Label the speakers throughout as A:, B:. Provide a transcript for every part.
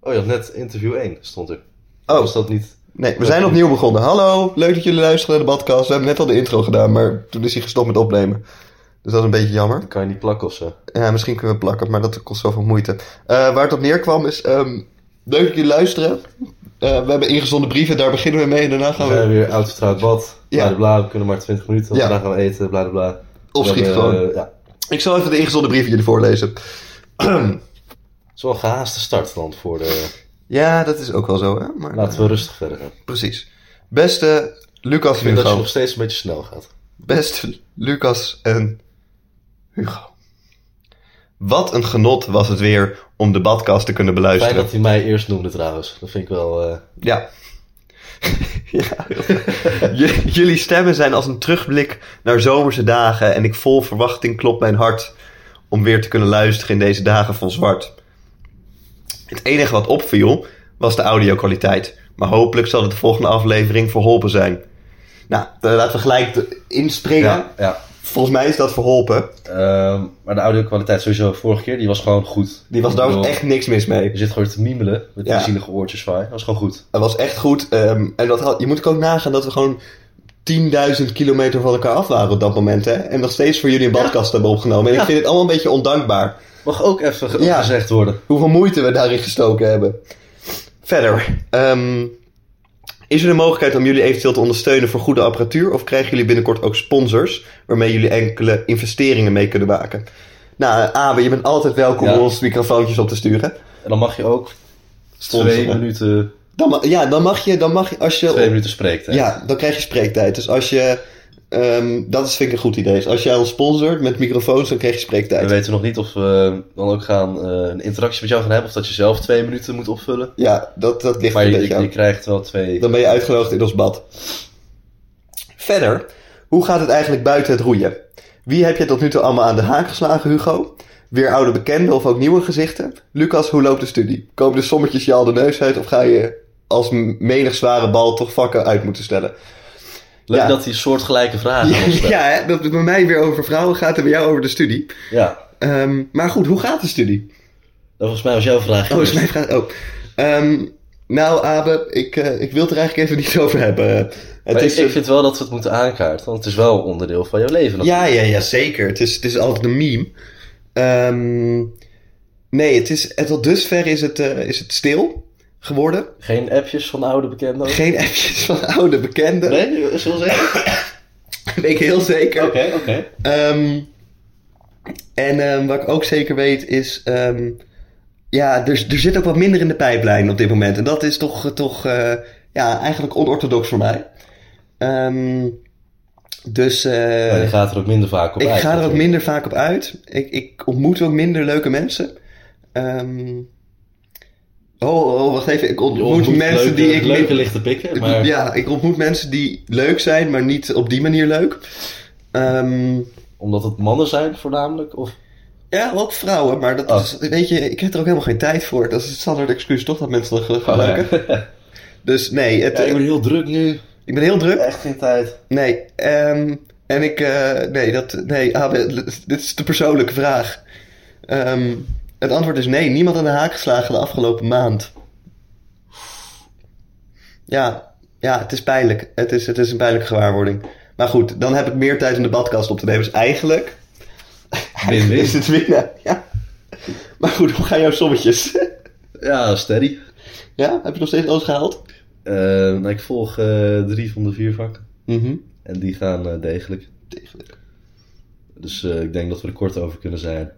A: Oh, je had net interview 1, stond er.
B: Oh.
A: Was dat niet...
B: Nee, we zijn opnieuw begonnen. Hallo, leuk dat jullie luisteren naar de podcast. We hebben net al de intro gedaan, maar toen is hij gestopt met opnemen. Dus dat is een beetje jammer.
A: Dan kan je niet plakken of zo.
B: Ja, misschien kunnen we plakken, maar dat kost zoveel moeite. Eh, waar het op neerkwam is, ehm, leuk dat jullie luisteren. Eh, we hebben ingezonden brieven, daar beginnen we mee en daarna
A: We
B: gaan
A: zijn
B: we...
A: weer oud vertrouwd bad.
B: Ja.
A: Bladibla, we kunnen maar 20 minuten. want
B: Ja.
A: Daarna gaan we eten, bladibla.
B: Of schiet gewoon.
A: eh, ja.
B: Ik zal even de ingezonden brieven jullie voorlezen.
A: Het is wel een gehaaste start dan voor de...
B: Ja, dat is ook wel zo, hè? Maar,
A: Laten we rustig verder gaan. Ik
B: Precies. Beste Lucas en
A: vind dat je
B: Hugo.
A: nog steeds een beetje snel gaat.
B: Beste Lucas en Hugo. Wat een genot was het weer om de badkast te kunnen
A: Fijn
B: beluisteren.
A: dat hij mij eerst noemde trouwens. Dat vind ik wel... eh,
B: Ja. ja. J- Jullie stemmen zijn als een terugblik naar zomerse dagen en ik vol verwachting klopt mijn hart om weer te kunnen luisteren in deze dagen vol zwart. Het enige wat opviel was de audio-kwaliteit, maar hopelijk zal het de volgende aflevering verholpen zijn. Nou, eh, laten we gelijk de- inspringen.
A: ja. ja.
B: Volgens mij is dat verholpen.
A: Ehm, maar de audio-kwaliteit sowieso vorige keer, die was nou gewoon goed.
B: Die was
A: Ik
B: daar
A: bedoel,
B: echt niks mis mee.
A: Je zit gewoon te miemelen met
B: Ja.
A: die zielige oortjes van je. Dat was gewoon goed.
B: Het was echt goed. ehm, en dat had, je moet ook nagaan dat we gewoon 10.000 kilometer van elkaar af waren op dat moment. Hè? En nog steeds voor jullie een podcast hebben opgenomen. En
A: Ja.
B: ik vind het allemaal een beetje ondankbaar.
A: Mag ook even ge-
B: Ja.
A: gezegd worden.
B: Hoeveel moeite we daarin gestoken hebben. Verder. ehm, is er de mogelijkheid om jullie eventueel te ondersteunen voor goede apparatuur? Of krijgen jullie binnenkort ook sponsors waarmee jullie enkele investeringen mee kunnen maken? Nou, Abe, je bent altijd welkom
A: Ja.
B: om ons microfoontjes op te sturen.
A: En dan mag je ook twee
B: Sponsoren.
A: minuten,
B: Dan, ma- ja, dan mag je, dan mag je als je
A: twee minuten spreektijd.
B: Ja, dan krijg je spreektijd. Dus als je. ehm, dat is, vind ik een goed idee. Dus als jij ons sponsort met microfoons, dan krijg je
A: We
B: spreektijd.
A: weten nog niet of we dan ook gaan, eh, een interactie met jou gaan hebben of dat je zelf twee minuten moet opvullen.
B: Ja, dat, dat ligt
A: Maar
B: een
A: je,
B: beetje
A: je,
B: aan.
A: je krijgt wel twee.
B: Dan ben je uitgenodigd in ons bad. Verder, hoe gaat het eigenlijk buiten het roeien? Wie heb je tot nu toe allemaal aan de haak geslagen, Hugo? Weer oude bekenden of ook nieuwe gezichten? Lucas, hoe loopt de studie? Komen de sommetjes je al de neus uit of ga je als menig zware bal toch vakken uit moeten stellen?
A: Leuk
B: ja.
A: dat die soortgelijke vragen aan ons
B: Ja,
A: stelt.
B: hè, dat het bij mij weer over vrouwen gaat en bij jou over de studie.
A: Ja.
B: Ehm, maar goed, hoe gaat de studie?
A: Oh, Dat volgens mij was jouw vraag.
B: Oh, is
A: geweest.
B: mijn vraag. Oh. Ehm, nou, Abe, ik, eh, ik wil het er eigenlijk even niet over hebben. Het
A: Maar
B: is,
A: ik, ik vind wel dat we het moeten aankaarten, want het is wel onderdeel van jouw leven. natuurlijk.
B: ja, ja, ja, zeker. Het is, het is altijd een meme. Ehm, nee, het is, en tot dusver is het, eh, is het stil geworden.
A: Geen appjes van oude bekenden? ook?
B: Geen appjes van oude bekenden.
A: Oh. Nee, Oh. zullen we zeggen?
B: Weet ik heel zeker.
A: Oké, oké.
B: Ehm, en ehm, wat ik ook zeker weet is... ehm, ja, er, er zit ook wat minder in de pijplijn op dit moment. En dat is toch, toch eh, ja, eigenlijk onorthodox voor mij. Ehm, dus eh,
A: Maar je gaat er ook minder vaak op
B: ik
A: uit,
B: ga er ook
A: natuurlijk.
B: minder vaak op uit. Ik, ik ontmoet ook minder leuke mensen. Ehm, oh, oh, wacht even. Ik
A: Je
B: ontmoet,
A: ontmoet
B: mensen
A: leuke-
B: die ik... niet-
A: Leuke lichte pikken, maar...
B: Ja, ik ontmoet mensen die leuk zijn, maar niet op die manier leuk. Ehm,
A: Omdat het mannen zijn voornamelijk? Of...
B: Ja, ook vrouwen, maar dat
A: Oh.
B: is, weet je, ik heb er ook helemaal geen tijd voor. Dat is het standaard excuus, toch? Dat mensen dat gebruiken.
A: Oh, ja.
B: Dus nee, het,
A: Ja, ik
B: ik,
A: ben
B: ben...
A: heel druk nu.
B: heel druk.
A: Echt geen tijd.
B: Nee, ehm, en ik, eh, nee, dat, nee, ah, dit is de persoonlijke vraag. Ehm, het antwoord is nee, niemand aan de haak geslagen de afgelopen maand. Ja, ja, het is pijnlijk. Het is, het is een pijnlijke gewaarwording. Maar goed, dan heb ik meer tijd om de badkast op te nemen. Dus eigenlijk
A: Win-win.
B: is het winnen. Ja. Maar goed, hoe gaan jouw sommetjes?
A: Ja, steady.
B: Ja, heb je nog steeds alles gehaald?
A: Eh, nou, ik volg eh, drie van de vier vakken.
B: Mhm.
A: En die gaan eh, degelijk.
B: Degelijk.
A: Dus eh, ik denk dat we er kort over kunnen zijn.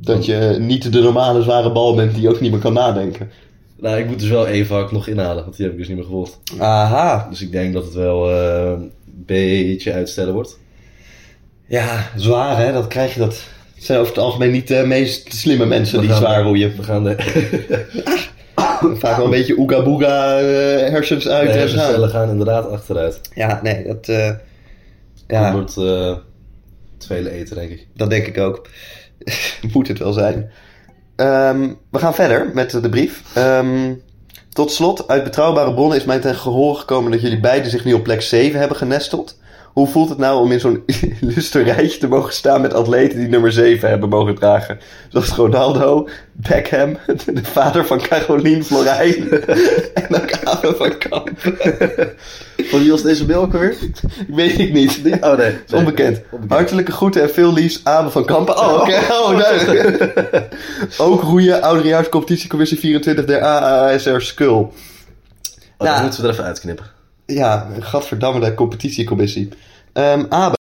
B: Dat je niet de normale zware bal bent die ook niet meer kan nadenken.
A: Nou, ik moet dus wel één vak nog inhalen, want die heb ik dus niet meer gevolgd.
B: Aha.
A: Dus ik denk dat het wel eh, een beetje uitstellen wordt.
B: Ja, zwaar hè, dat krijg je dat. Het zijn over het algemeen niet de meest slimme mensen
A: We
B: die
A: gaan-
B: zwaar roeien.
A: We gaan de
B: Vaak wel een beetje oega boega eh, hersens
A: de
B: uit. en zo.
A: hersenstellen gaan inderdaad achteruit.
B: Ja, nee, dat, eh,
A: Dat
B: ja,
A: wordt eh het vele eten, denk ik.
B: dat denk ik ook. Moet het wel zijn. Ehm, we gaan verder met de brief. Ehm, tot slot, uit betrouwbare bronnen is mij ten gehoor gekomen dat jullie beiden zich nu op plek 7 hebben genesteld. Hoe voelt het nou om in zo'n illustre rijtje te mogen staan met atleten die nummer 7 hebben mogen dragen? Zoals Ronaldo, Beckham, de vader van Caroline Florijn en ook Abe van Kamp.
A: Van wie was deze mail ook alweer?
B: Weet ik niet.
A: Die- Oh nee.
B: Het is onbekend. Hartelijke groeten en veel liefs, Abe van Kampen. Oh, oké. Oh, duidelijk. Ook roeien, ouderejaars competitiecommissie 24 der AASR Skull.
A: Oh, dat
B: Nou.
A: moeten we er even uitknippen.
B: Ja, gadverdamme, de competitiecommissie. Ehm Abe,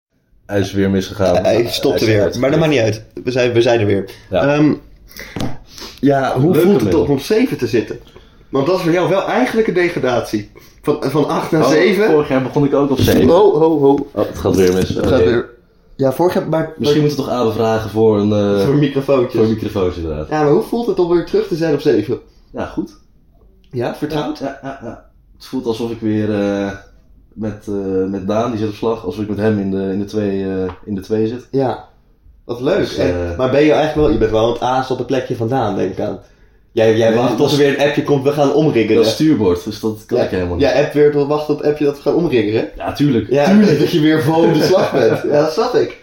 A: Hij is weer misgegaan.
B: hij stopte
A: is
B: weer.
A: uit.
B: Maar dat maakt niet uit. We zijn, we zijn er weer.
A: Ja.
B: Ehm, ja hoe
A: Leuke
B: voelt het
A: mail.
B: om op 7 te zitten? Want dat is voor jou wel eigenlijk een degradatie. Van, van 8 naar
A: Oh,
B: 7.
A: Vorig jaar begon ik ook op 7.
B: Ho, ho, ho.
A: Oh, het gaat weer mis.
B: Het gaat weer. Ja, vorig jaar, maar
A: Misschien moeten we toch Abe vragen voor een, eh,
B: voor microfoontjes.
A: voor een microfoon inderdaad.
B: Ja, maar hoe voelt het om weer terug te zijn op 7?
A: Ja, goed.
B: Ja, vertrouwd?
A: Ja, ja, ja. Het voelt alsof ik weer eh, met, eh, met Daan, die zit op slag, alsof ik met hem in de, in de, twee, eh, in de twee zit.
B: Ja. Wat leuk.
A: Dus,
B: En-
A: eh,
B: maar ben je eigenlijk wel... Je bent wel aan het aas op het plekje vandaan, denk ik aan. Jij, jij
A: Nee,
B: wacht
A: dat
B: tot er
A: is-
B: weer een appje komt, we gaan omriggeren.
A: Dat is stuurboord, dus dat kan ik helemaal niet.
B: Ja, app weer tot wachten op het appje dat we gaan omriggeren.
A: Ja, tuurlijk.
B: Ja, Tuurlijk. dat je weer vol op de slag bent. Ja, dat snap ik.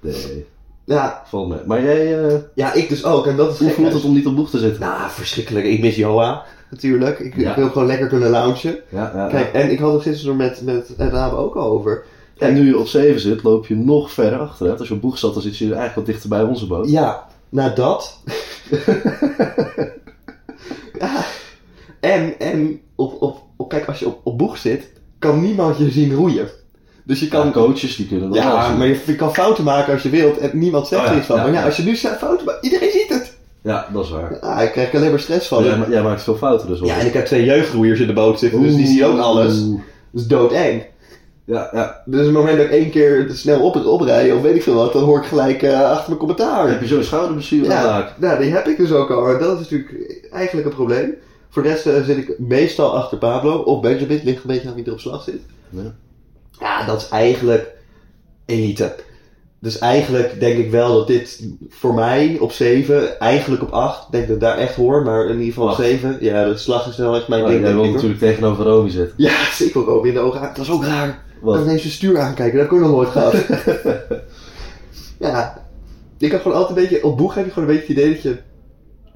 A: Nee,
B: Ja,
A: valt mee. Maar jij, eh,
B: ja ik dus ook. En dat is
A: hoe
B: gek,
A: voelt
B: hè?
A: het om niet op boeg te zitten?
B: Nou, verschrikkelijk. Ik mis Joa, natuurlijk. Ik, ik
A: Ja.
B: wil gewoon lekker kunnen loungen.
A: Ja, ja, ja.
B: Kijk, en ik had het gisteren met, met Rabe ook al over.
A: En nu je op 7 zit, loop je nog verder achter. Hè? Als je op boeg zat, dan zit je eigenlijk wat dichter bij onze boot.
B: Ja, nou dat. ja. En, en op, op, op, kijk, als je op, op boeg zit, kan niemand je zien roeien. Dus je kan...
A: Ja, coaches die kunnen dat wel
B: Ja,
A: zien.
B: maar je, je kan fouten maken als je wilt en niemand zegt
A: Oh
B: er
A: ja,
B: iets van.
A: ja,
B: maar ja,
A: ja.
B: als je nu zelf fouten maakt, iedereen ziet het.
A: Ja, dat is waar.
B: Ah, ik krijg er alleen maar stress van.
A: jij, ma- jij maakt veel fouten dus hoor.
B: Ja, en ik heb twee jeugdroeiers in de boot zitten, dus die zien ook alles.
A: Oeh.
B: Dat is doodeng.
A: Ja, ja.
B: Dus op het moment dat ik één keer te snel op, oprijden of weet ik veel wat, dan hoor ik gelijk eh, achter mijn
A: Dan
B: commentaar.
A: Oh, heb je zo'n schouderblessure aan
B: Ja,
A: raak.
B: nou, die heb ik dus ook al. En dat is natuurlijk eigenlijk een probleem. Voor de rest eh, zit ik meestal achter Pablo of Benjamin. Ligt een beetje aan wie er op slag zit.
A: Ja.
B: Ja, dat is eigenlijk elite. Dus eigenlijk denk ik wel dat dit voor mij op 7, eigenlijk op 8, ik denk dat ik daar echt hoor, maar in ieder geval op
A: Acht.
B: 7. Ja, de slag is wel echt mijn
A: Maar
B: ding.
A: jij
B: denk
A: wil
B: ik, hoor.
A: natuurlijk tegenover Romy zitten.
B: Ja, zeker ook Robin in de ogen aan. Dat is ook raar.
A: Wat?
B: Dat ineens je stuur aankijken, dat heb ik ook nog nooit gehad. ja, ik heb gewoon altijd een beetje, op boeg heb je gewoon een beetje het idee dat je,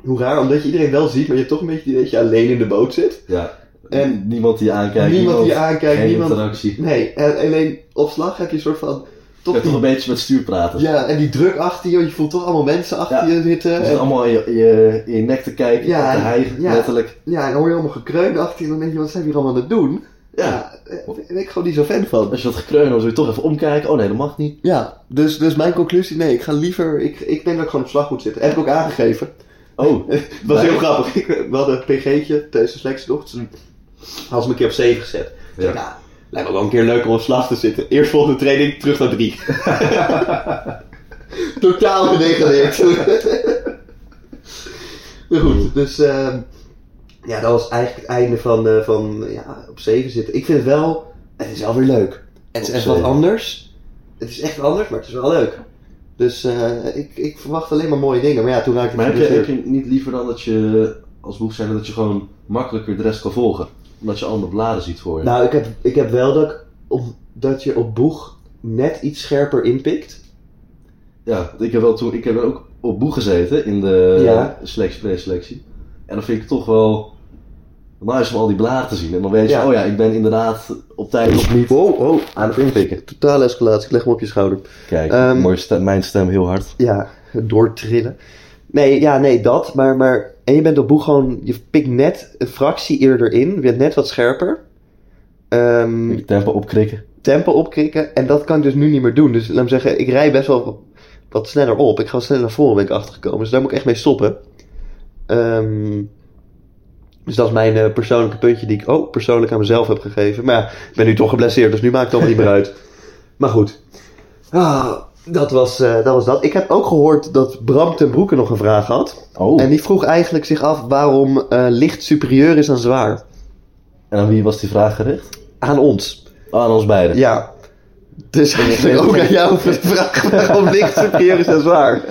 B: hoe raar, omdat je iedereen wel ziet, maar je hebt toch een beetje het idee dat je alleen in de boot zit.
A: Ja.
B: En-
A: En niemand die je aankijkt.
B: niemand die je aankijkt,
A: geen
B: niemand.
A: interactie.
B: Nee, en alleen op slag heb je een soort van,
A: Je
B: toch
A: hebt toch
B: die,
A: een beetje met stuur praten.
B: ja, en die druk achter je, want je voelt toch allemaal mensen achter
A: Ja.
B: je zitten.
A: Je
B: En-
A: zit allemaal in je, in je, in je nek te kijken,
B: Ja,
A: te hijgen,
B: ja.
A: letterlijk.
B: ja, en dan hoor je allemaal gekreun achter je en dan denk je, wat zijn we hier allemaal aan het doen?
A: Ja.
B: eh, daar ben ik gewoon niet zo fan van.
A: Als je wat gekreun hoort, zul je toch even omkijken. Oh nee, dat mag niet.
B: Ja, dus, dus mijn conclusie, nee, ik ga liever, ik, ik denk dat ik gewoon op slag moet zitten. Heb ik ook aangegeven.
A: Oh,
B: Het was
A: Nee.
B: heel grappig. Ik- eh, We hadden een pg'tje tijdens de selectie nog. Toen hadden ze me een keer op 7 gezet. Ik zei,
A: Mm. Ja.
B: nou, lijkt me wel een keer leuk om op slag te zitten. Eerst volgende training, terug naar 3. Totaal gedegradeerd. maar
A: Mm.
B: goed, dus ehm, ja, dat was eigenlijk het einde van, eh, van ja, op 7 zitten. Ik vind het wel, het is wel weer leuk. Het is
A: Op
B: echt wat
A: zeven.
B: anders. Het is echt anders, maar het is wel leuk. Dus eh, ik, ik verwacht alleen maar mooie dingen. Maar ja, toen raakte ik dus
A: maar heb je,
B: geblesseerd.
A: heb je niet liever dan dat je als boeg zijn dat je gewoon makkelijker de rest kan volgen? Omdat je andere bladen ziet voor je.
B: Nou, ik heb, ik heb wel dat, ik op- dat je op boeg net iets scherper inpikt.
A: Ja, want ik heb wel toen, ik heb ook op boeg gezeten in de
B: Ja.
A: selectie, preselectie. En dan vind ik toch wel nice om al die bladen te zien. En dan weet je,
B: Ja.
A: oh ja, ik ben inderdaad op tijd of niet.
B: Wow, wow.
A: Aan het inpikken.
B: Totale escalatie. Ik leg hem op je schouder.
A: Kijk,
B: Ehm,
A: mooie stem- mijn stem heel hard.
B: Ja, doortrillen. Nee, ja, nee, dat. Maar, maar, en je bent op boeg gewoon... Je pikt net een fractie eerder in. Je bent net wat scherper. Ehm,
A: Tempo opkrikken.
B: tempo opkrikken. En dat kan ik dus nu niet meer doen. Dus laat me zeggen, ik rij best wel wat sneller op. Ik ga wat sneller naar voren, ben ik achtergekomen. Dus daar moet ik echt mee stoppen. Ehm, dus dat is mijn eh, persoonlijke puntje die ik ook persoonlijk aan mezelf heb gegeven. Maar ja, ik ben nu toch geblesseerd, dus nu maakt het allemaal niet meer uit. Maar goed. Ah, dat, was, eh, dat was dat. Ik heb ook gehoord dat Bram ten Broeke nog een vraag had.
A: Oh,
B: En
A: en,
B: die vroeg eigenlijk zich af waarom eh, licht superieur is aan zwaar.
A: aan wie was die vraag gericht?
B: Aan ons.
A: Oh, aan ons beiden.
B: Ja. Dus eigenlijk ook aan jou de vraag waarom licht superieur is aan zwaar.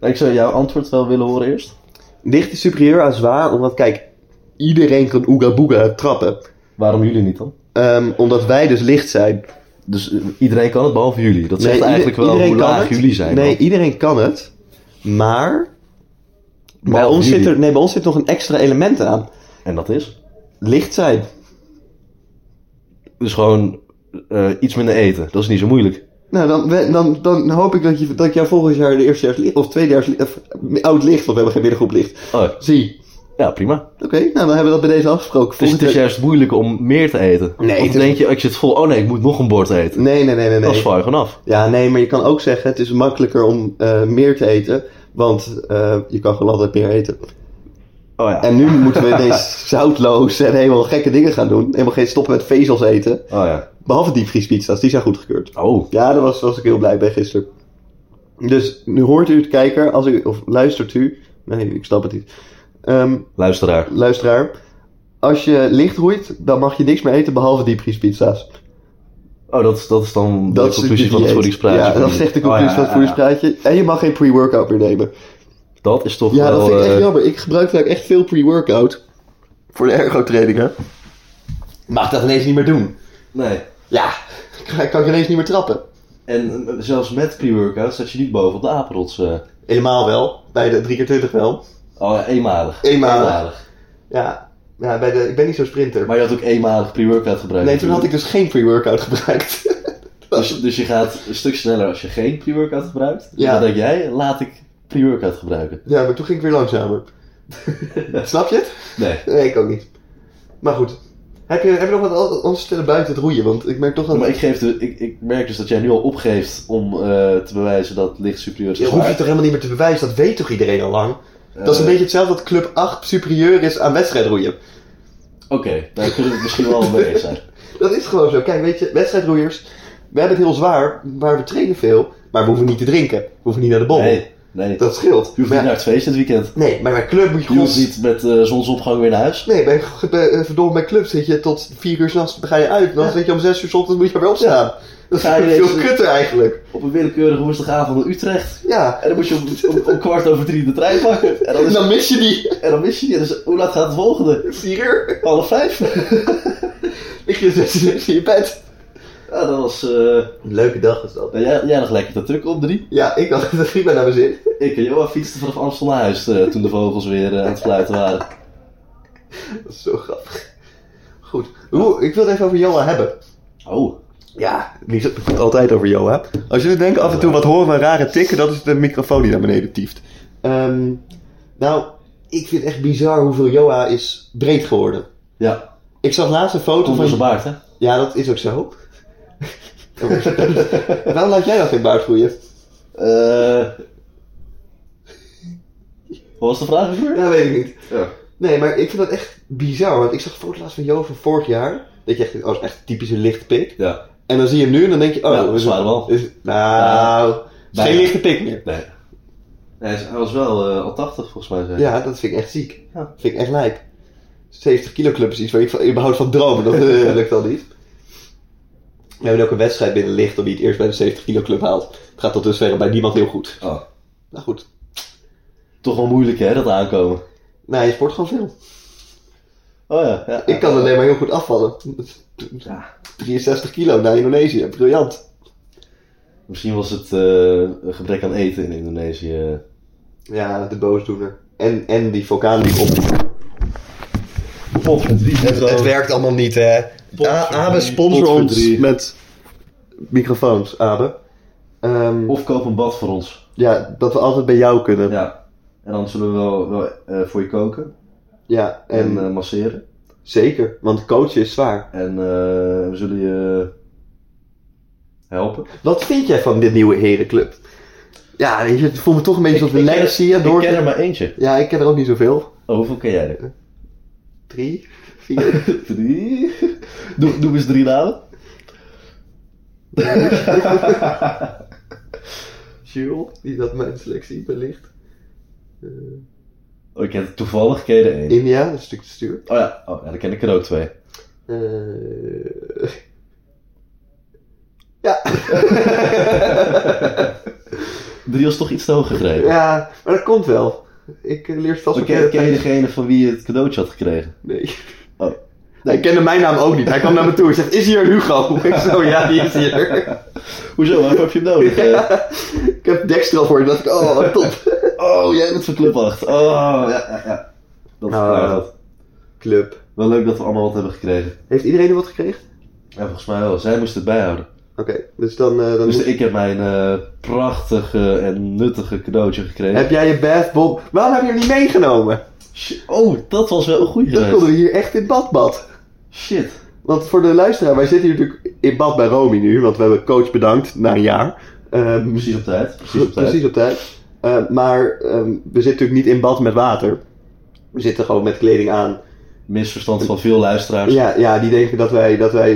A: Nou, Ik zou jouw antwoord wel willen horen eerst.
B: Licht is superieur aan zwaar, omdat kijk, iedereen kan ooga booga trappen.
A: Waarom jullie niet dan?
B: Ehm, omdat wij dus licht zijn.
A: Dus eh, iedereen kan het, behalve jullie. Dat zegt
B: ieder-
A: eigenlijk wel
B: iedereen
A: hoe
B: kan
A: laag
B: het.
A: jullie zijn.
B: Nee,
A: dan.
B: iedereen kan het. Maar bij
A: Behalve
B: ons, zit
A: jullie.
B: er, nee, bij ons zit nog een extra element aan.
A: En dat is?
B: Licht zijn.
A: Dus gewoon eh, iets minder eten. Dat is niet zo moeilijk.
B: Nou, dan, we- dan, dan hoop ik dat, je, dat ik jou volgend jaar de eerstejaars licht, of tweedejaars licht, of oud licht, want we hebben geen middengroep licht.
A: Oh,
B: Zie.
A: ja, prima.
B: Oké, nou dan hebben we dat bij deze afgesproken.
A: Dus het
B: Volgend
A: is
B: jaar-
A: juist moeilijk om meer te eten.
B: Nee,
A: Want
B: het is-
A: dan denk je, ik zit vol. Oh nee, ik moet nog een bord eten.
B: Nee, nee, nee, nee.
A: Dat
B: nee.
A: zwaai gewoon af.
B: Ja, nee, maar je kan ook zeggen, het is makkelijker om eh, meer te eten, want eh, je kan gewoon altijd meer eten.
A: Oh ja.
B: En nu moeten we ineens zoutloos en helemaal gekke dingen gaan doen. Helemaal geen stoppen met vezels eten.
A: Oh ja.
B: Behalve diepvriespizza's, die zijn goedgekeurd.
A: Oh.
B: Ja, daar was, was ik heel blij bij gisteren. Dus nu hoort u het kijker, als u, of luistert u. Nee, ik snap het niet. Ehm,
A: Luisteraar.
B: luisteraar, als je licht roeit, dan mag je niks meer eten behalve diepvriespizza's.
A: Oh, dat, is- dat is dan
B: Dat
A: de
B: is
A: conclusie
B: het
A: van het
B: dieet.
A: voedingspraatje.
B: Ja, dat is echt de conclusie
A: Oh ja,
B: van het
A: ja, ja.
B: voedingspraatje. En je mag geen pre-workout meer nemen.
A: Dat is toch
B: Ja,
A: wel...
B: dat vind ik echt
A: eh,
B: jammer. Ik gebruik vaak echt veel pre-workout. Voor de ergotrainingen. Mag dat ineens niet meer doen.
A: Nee.
B: Ja, kan kan ik ineens niet meer trappen.
A: En eh, zelfs met pre-workout staat je niet boven op de apenrots. eh.
B: Eenmaal wel. Bij de 3x20 wel.
A: Oh ja, eenmalig.
B: Eenmalig. Ja, ja bij de, ik ben niet zo'n sprinter.
A: Maar je had ook eenmalig pre-workout gebruikt.
B: nee, toen had
A: natuurlijk.
B: ik dus geen pre-workout gebruikt.
A: Dus, dus je gaat een stuk sneller als je geen pre-workout gebruikt.
B: Ja.
A: Ja. Dan denk jij, laat ik pre-workout gebruiken.
B: ja, maar toen ging ik weer langzamer. Snap je het?
A: Nee.
B: Nee, ik ook niet. Maar goed. Heb je, heb je nog wat anders te stellen buiten het roeien? Want ik merk toch dat...
A: Maar ik, geef de, ik, ik merk dus dat jij nu al opgeeft om eh, te bewijzen dat licht superieur is
B: Je
A: aan
B: hoeft het
A: zwaar.
B: toch helemaal niet meer te bewijzen, dat weet toch iedereen al lang? dat is een
A: Eh,
B: beetje hetzelfde dat Club 8 superieur is aan wedstrijdroeien.
A: Oké, daar kunnen we het misschien wel mee eens zijn.
B: Dat is gewoon zo. Kijk, weet je, wedstrijdroeiers, we hebben het heel zwaar, maar we trainen veel, maar we hoeven niet te drinken. We hoeven niet naar de bol.
A: Nee, nee.
B: Oh. Dat scheelt.
A: Je hoeft
B: Maar
A: niet
B: ja,
A: naar het feest dit weekend.
B: Nee, maar bij club moet je
A: Je hoeft
B: gewoon...
A: niet met eh, zonsopgang weer naar huis.
B: Nee, bij, bij, eh, verdomme, bij club zit je tot 4 uur s'nachts, dan ga je uit. Dan
A: Ja.
B: zit je om 6 uur 's ochtends, moet je weer opstaan. Dat is
A: Ga je
B: veel
A: deze-
B: kutter eigenlijk.
A: Op een willekeurige woensdagavond naar Utrecht.
B: Ja,
A: En dan moet je om, om, om kwart over drie de trein pakken. En dan,
B: en
A: is,
B: dan mis je die
A: en dan mis je die. Dus hoe laat gaat het volgende?
B: 4 uur.
A: Half vijf?
B: Lig je 6 uur in je bed.
A: Ja, dat was... eh,
B: Een leuke dag is dat.
A: nou, jij, jij nog lekker te druk op drie.
B: Ja, ik had het prima naar mijn zin.
A: Ik en Johan fietsten vanaf Amstel naar huis eh, toen de vogels weer eh, aan het fluiten waren.
B: Dat is zo grappig. Goed. Oeh, ik wil het even over Joa hebben.
A: Oh,
B: Ja, niet zo- altijd over Joa. Als jullie denken af en toe wat horen we een rare tikken, dat is de microfoon die naar beneden tieft. Ehm, nou, ik vind het echt bizar hoeveel Joa is breed geworden.
A: ja. Oh,
B: Ik zag laatst een foto
A: Komt door zijn
B: van...
A: baard, hè?
B: Ja, dat is ook zo. Waarom laat jij dat geen baard groeien?
A: Eh. wat was de vraag ook weer?
B: Ja, weet ik niet.
A: Ja.
B: Nee, maar ik vind dat echt bizar. Want ik zag een foto laatst van Joa van vorig jaar. Dat je echt, oh, dat is echt een typische lichtpik.
A: Ja.
B: En dan zie je hem nu en dan denk je, oh,
A: Ja,
B: dat is
A: zware bal.
B: Is, nou, het is
A: bijna.
B: geen lichte pik meer.
A: Nee. Hij, is- hij was wel eh, al 80 volgens mij. Zeg.
B: Ja, dat vind ik echt ziek.
A: Ja.
B: Vind ik echt lijp. 70 kilo club is iets waar ik van, überhaupt van droom. Dat eh, lukt al niet. We hebben ook een wedstrijd binnen licht om wie het eerst bij de 70 kilo club haalt. Het gaat tot dusver bij niemand heel goed.
A: Oh.
B: Nou goed.
A: Toch wel moeilijk, hè, dat aankomen.
B: Nou, je sport gewoon veel.
A: Oh ja. ja.
B: Ik kan alleen maar heel goed afvallen.
A: Ja.
B: 63 kilo naar Indonesië. Briljant.
A: Misschien was het eh, een gebrek aan eten in Indonesië.
B: Ja, de boosdoener. En, en die vulkaan die op.
A: Pot met drie. Het,
B: Het werkt allemaal niet, hè?
A: Pot
B: A-
A: voor
B: Abe
A: drie,
B: sponsor
A: pot voor
B: ons
A: drie.
B: met microfoons, Abe. Ehm,
A: Of koop een bad voor ons.
B: ja, dat we altijd bij jou kunnen. Ja,
A: Ja. En dan zullen we wel, wel eh, voor je koken en
B: en
A: eh, masseren.
B: zeker, want coachen is zwaar.
A: En eh, we zullen je helpen.
B: Wat vind jij van dit nieuwe herenclub? Ja, weet je, het voelt me toch een beetje als de
A: ik ken-
B: legacy. hè, door...
A: Ik ken er maar eentje.
B: Ja, ik ken er ook niet zoveel.
A: Oh, hoeveel ken jij er?
B: Drie, vier.
A: Drie. Doe, doe eens drie namen.
B: Jules, die dat mijn selectie belicht.
A: Oh, ik heb toevallig ken je er één.
B: India, een stuk te stuur.
A: Oh ja, oh, ja, dan ken ik er ook twee.
B: Eh, Ja.
A: Drie was toch iets te hoog gegrepen.
B: Ja, maar dat komt wel. Ik eh, leer het vast
A: Maar
B: wel
A: ken, ken je
B: kennen.
A: degene van wie je het cadeautje had gekregen?
B: Nee.
A: Oh.
B: Hij kende mijn naam ook niet. Hij kwam naar me toe en zegt, is hier Hugo? Ik zo, ja, die is hier.
A: Hoezo, waarom heb je hem nodig? Eh,
B: Ik heb Dexter al voor je. dacht ik, oh, top.
A: oh, jij bent van Club 8. Oh, ja, ja, ja. Dat is
B: Nou,
A: klaar,
B: eh,
A: dat.
B: Club.
A: Wel leuk dat we allemaal wat hebben gekregen.
B: Heeft iedereen er wat gekregen?
A: Ja, volgens mij wel. Zij moest het bijhouden.
B: Oké, dus dan... eh, dan
A: Dus ik heb mijn eh, prachtige en nuttige cadeautje gekregen.
B: Heb jij je bathbomb... Waarom heb je hem niet meegenomen?
A: Sh- Oh, dat was wel een goeie
B: Dan
A: geweest.
B: konden we hier echt in badbad.
A: Shit.
B: Want voor de luisteraar, wij zitten hier natuurlijk in bad bij Romy nu. Want we hebben coach bedankt na een jaar. Ehm,
A: Precies op tijd. Precies op tijd.
B: Precies op tijd. Eh, maar ehm, we zitten natuurlijk niet in bad met water. We zitten gewoon met kleding aan.
A: Misverstand van veel luisteraars.
B: Ja, ja die denken dat wij, dat wij...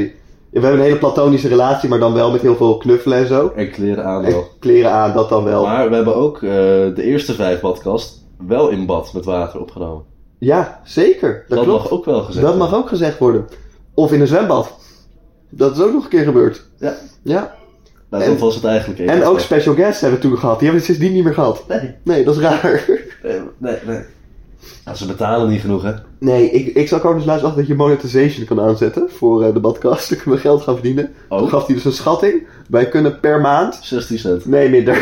B: ja, We hebben een hele platonische relatie, maar dan wel met heel veel knuffelen en zo.
A: En kleren aan
B: En
A: wel.
B: kleren aan, dat dan wel.
A: Maar we hebben ook eh, de eerste vijf badkast wel in bad met water opgenomen.
B: Ja, zeker. Dat,
A: Dat,
B: klopt.
A: mag ook wel gezegd
B: dat mag
A: worden.
B: ook gezegd worden. Of in een zwembad. Dat is ook nog een keer gebeurd.
A: Ja.
B: ja.
A: Nou,
B: En-
A: dat was het eigenlijk.
B: En
A: even.
B: ook special guests hebben we toen gehad. Die hebben we sindsdien niet meer gehad.
A: Nee,
B: Nee, dat is raar.
A: nee, nee. nee. Ja, ze betalen niet genoeg, hè?
B: Nee, ik, ik zal komen dus laatst achter dat je monetization kan aanzetten voor eh, de podcast. Dan kunnen we geld gaan verdienen. Toen
A: Ook.
B: gaf hij dus een schatting. Wij kunnen per maand...
A: 16 cent.
B: Nee, minder.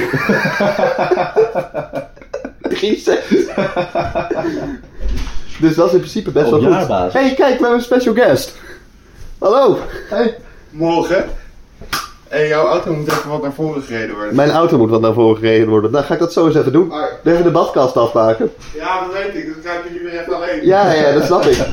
B: Drie cent. dus dat is in principe best
A: Op
B: wel goed.
A: jaarbasis.
B: hey, kijk, we hebben een special guest. Hallo.
C: Morgen. En jouw auto moet even wat naar voren gereden worden.
B: Mijn auto moet wat naar voren gereden worden. Nou, ga ik dat zo eens even doen.
C: Ah,
B: Even de badkast afmaken.
C: Ja, dat weet ik. Dat krijg jullie weer even alleen.
B: Ja, ja, dat snap ik.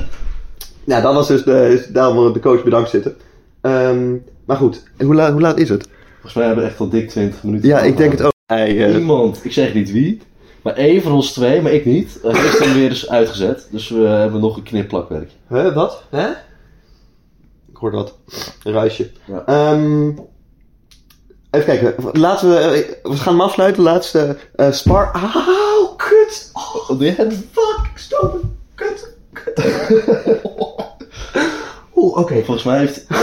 B: Nou, dat was dus de, daarom de coach bedankt zitten. Ehm, maar goed, hoe, la- hoe laat is het?
A: Volgens mij hebben we echt al dik 20 minuten.
B: Ja, ik denk het ook. Hij, eh,
A: Iemand, ik zeg niet wie, maar één van ons twee, maar ik niet, eh, heeft hem weer eens uitgezet. Dus we hebben nog een knipplakwerk.
B: hè, wat? Hè? Ik hoor wat. Een ruisje.
A: Ja.
B: Ehm, even kijken. Laten we... eh, We gaan hem afsluiten. Laatste eh, spar... Auw, kut. Oh,
A: Oh, nee, hè?
B: fuck. Ik stoot hem. Kut. Kut. Oeh, oké.
A: Volgens mij heeft eh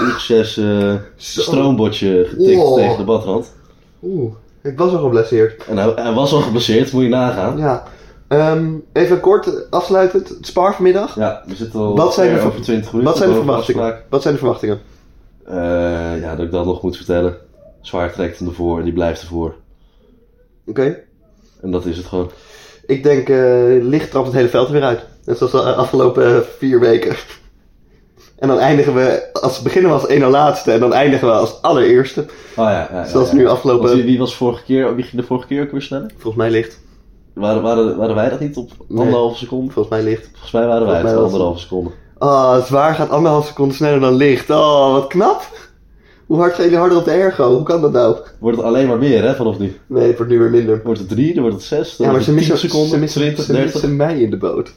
A: Lucas eh
B: Zo.
A: stroombotje getikt
B: Wow.
A: tegen de badrand.
B: Oeh, ik was al geblesseerd.
A: En hij, hij was al geblesseerd, moet je nagaan. Ja,
B: Ja. Ehm, even kort eh, afsluitend. Het Spar vanmiddag.
A: we zitten al
B: Wat zijn de
A: ver
B: ver-
A: over 20 minuten.
B: Wat zijn, de
A: boven
B: verwachtingen?
A: afspraak.
B: Wat zijn de verwachtingen?
A: Eh, ja, dat ik dat nog moet vertellen. Zwaar trekt hem ervoor en die blijft ervoor.
B: Oké.
A: En dat is het gewoon.
B: Ik denk, eh, licht trapt het hele veld er weer uit. Net zoals de eh, afgelopen eh, vier weken. En dan eindigen we, als beginnen we als één na laatste en dan eindigen we als allereerste.
A: Oh ja, ja, ja,
B: Zoals
A: ja.
B: nu
A: Want
B: afgelopen.
A: wie, wie was vorige keer, wie ging de vorige keer ook weer sneller?
B: Volgens mij licht.
A: Waren, waren, waren wij dat niet op
B: Nee.
A: anderhalve seconde?
B: Volgens mij licht.
A: Volgens mij waren wij
B: Volgens mij
A: het
B: was-
A: anderhalve seconde.
B: Ah, zwaar gaat anderhalf seconde sneller dan licht. Oh, wat knap. Hoe hard gaan jullie harder op de ergo? Hoe kan dat nou?
A: Wordt het alleen maar meer, hè, vanaf nu.
B: Nee, het wordt nu weer minder.
A: Wordt het drie, dan wordt het zes, dan
B: Ja, maar
A: wordt
B: ze
A: het tien
B: missen, ze
A: seconden,
B: missen,
A: 20,
B: ze
A: 30. Oké.
B: missen mij in de boot.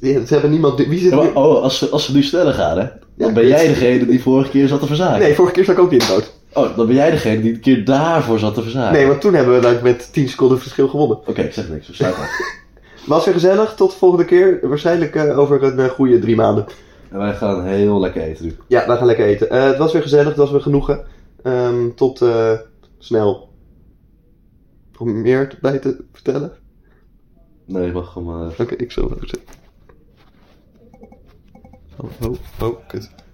B: Ja, ze hebben niemand. Wie zit
A: Ja, maar-
B: nu?
A: oh, als ze, als ze nu sneller gaan, hè? Dan
B: Ja,
A: ben jij
B: kut.
A: degene die vorige keer zat te verzaken.
B: Nee, vorige keer zat ik ook in de boot.
A: Oh, dan ben jij degene die een keer daarvoor zat te verzaken.
B: Nee, want toen hebben we dan met 10 seconden verschil gewonnen.
A: Oké, ik zeg niks. We sluiten af.
B: Was weer gezellig. Tot de volgende keer. Waarschijnlijk eh, over een eh, goede drie maanden.
A: En wij gaan heel lekker eten nu.
B: Ja, wij gaan lekker eten. Eh, het was weer gezellig. Het was weer genoegen. Ehm, tot eh, snel. Om meer bij te vertellen.
A: Nee, mag hem... eh,
B: Oké, ik zal het ook zeggen. Oh, oh, oh, kut.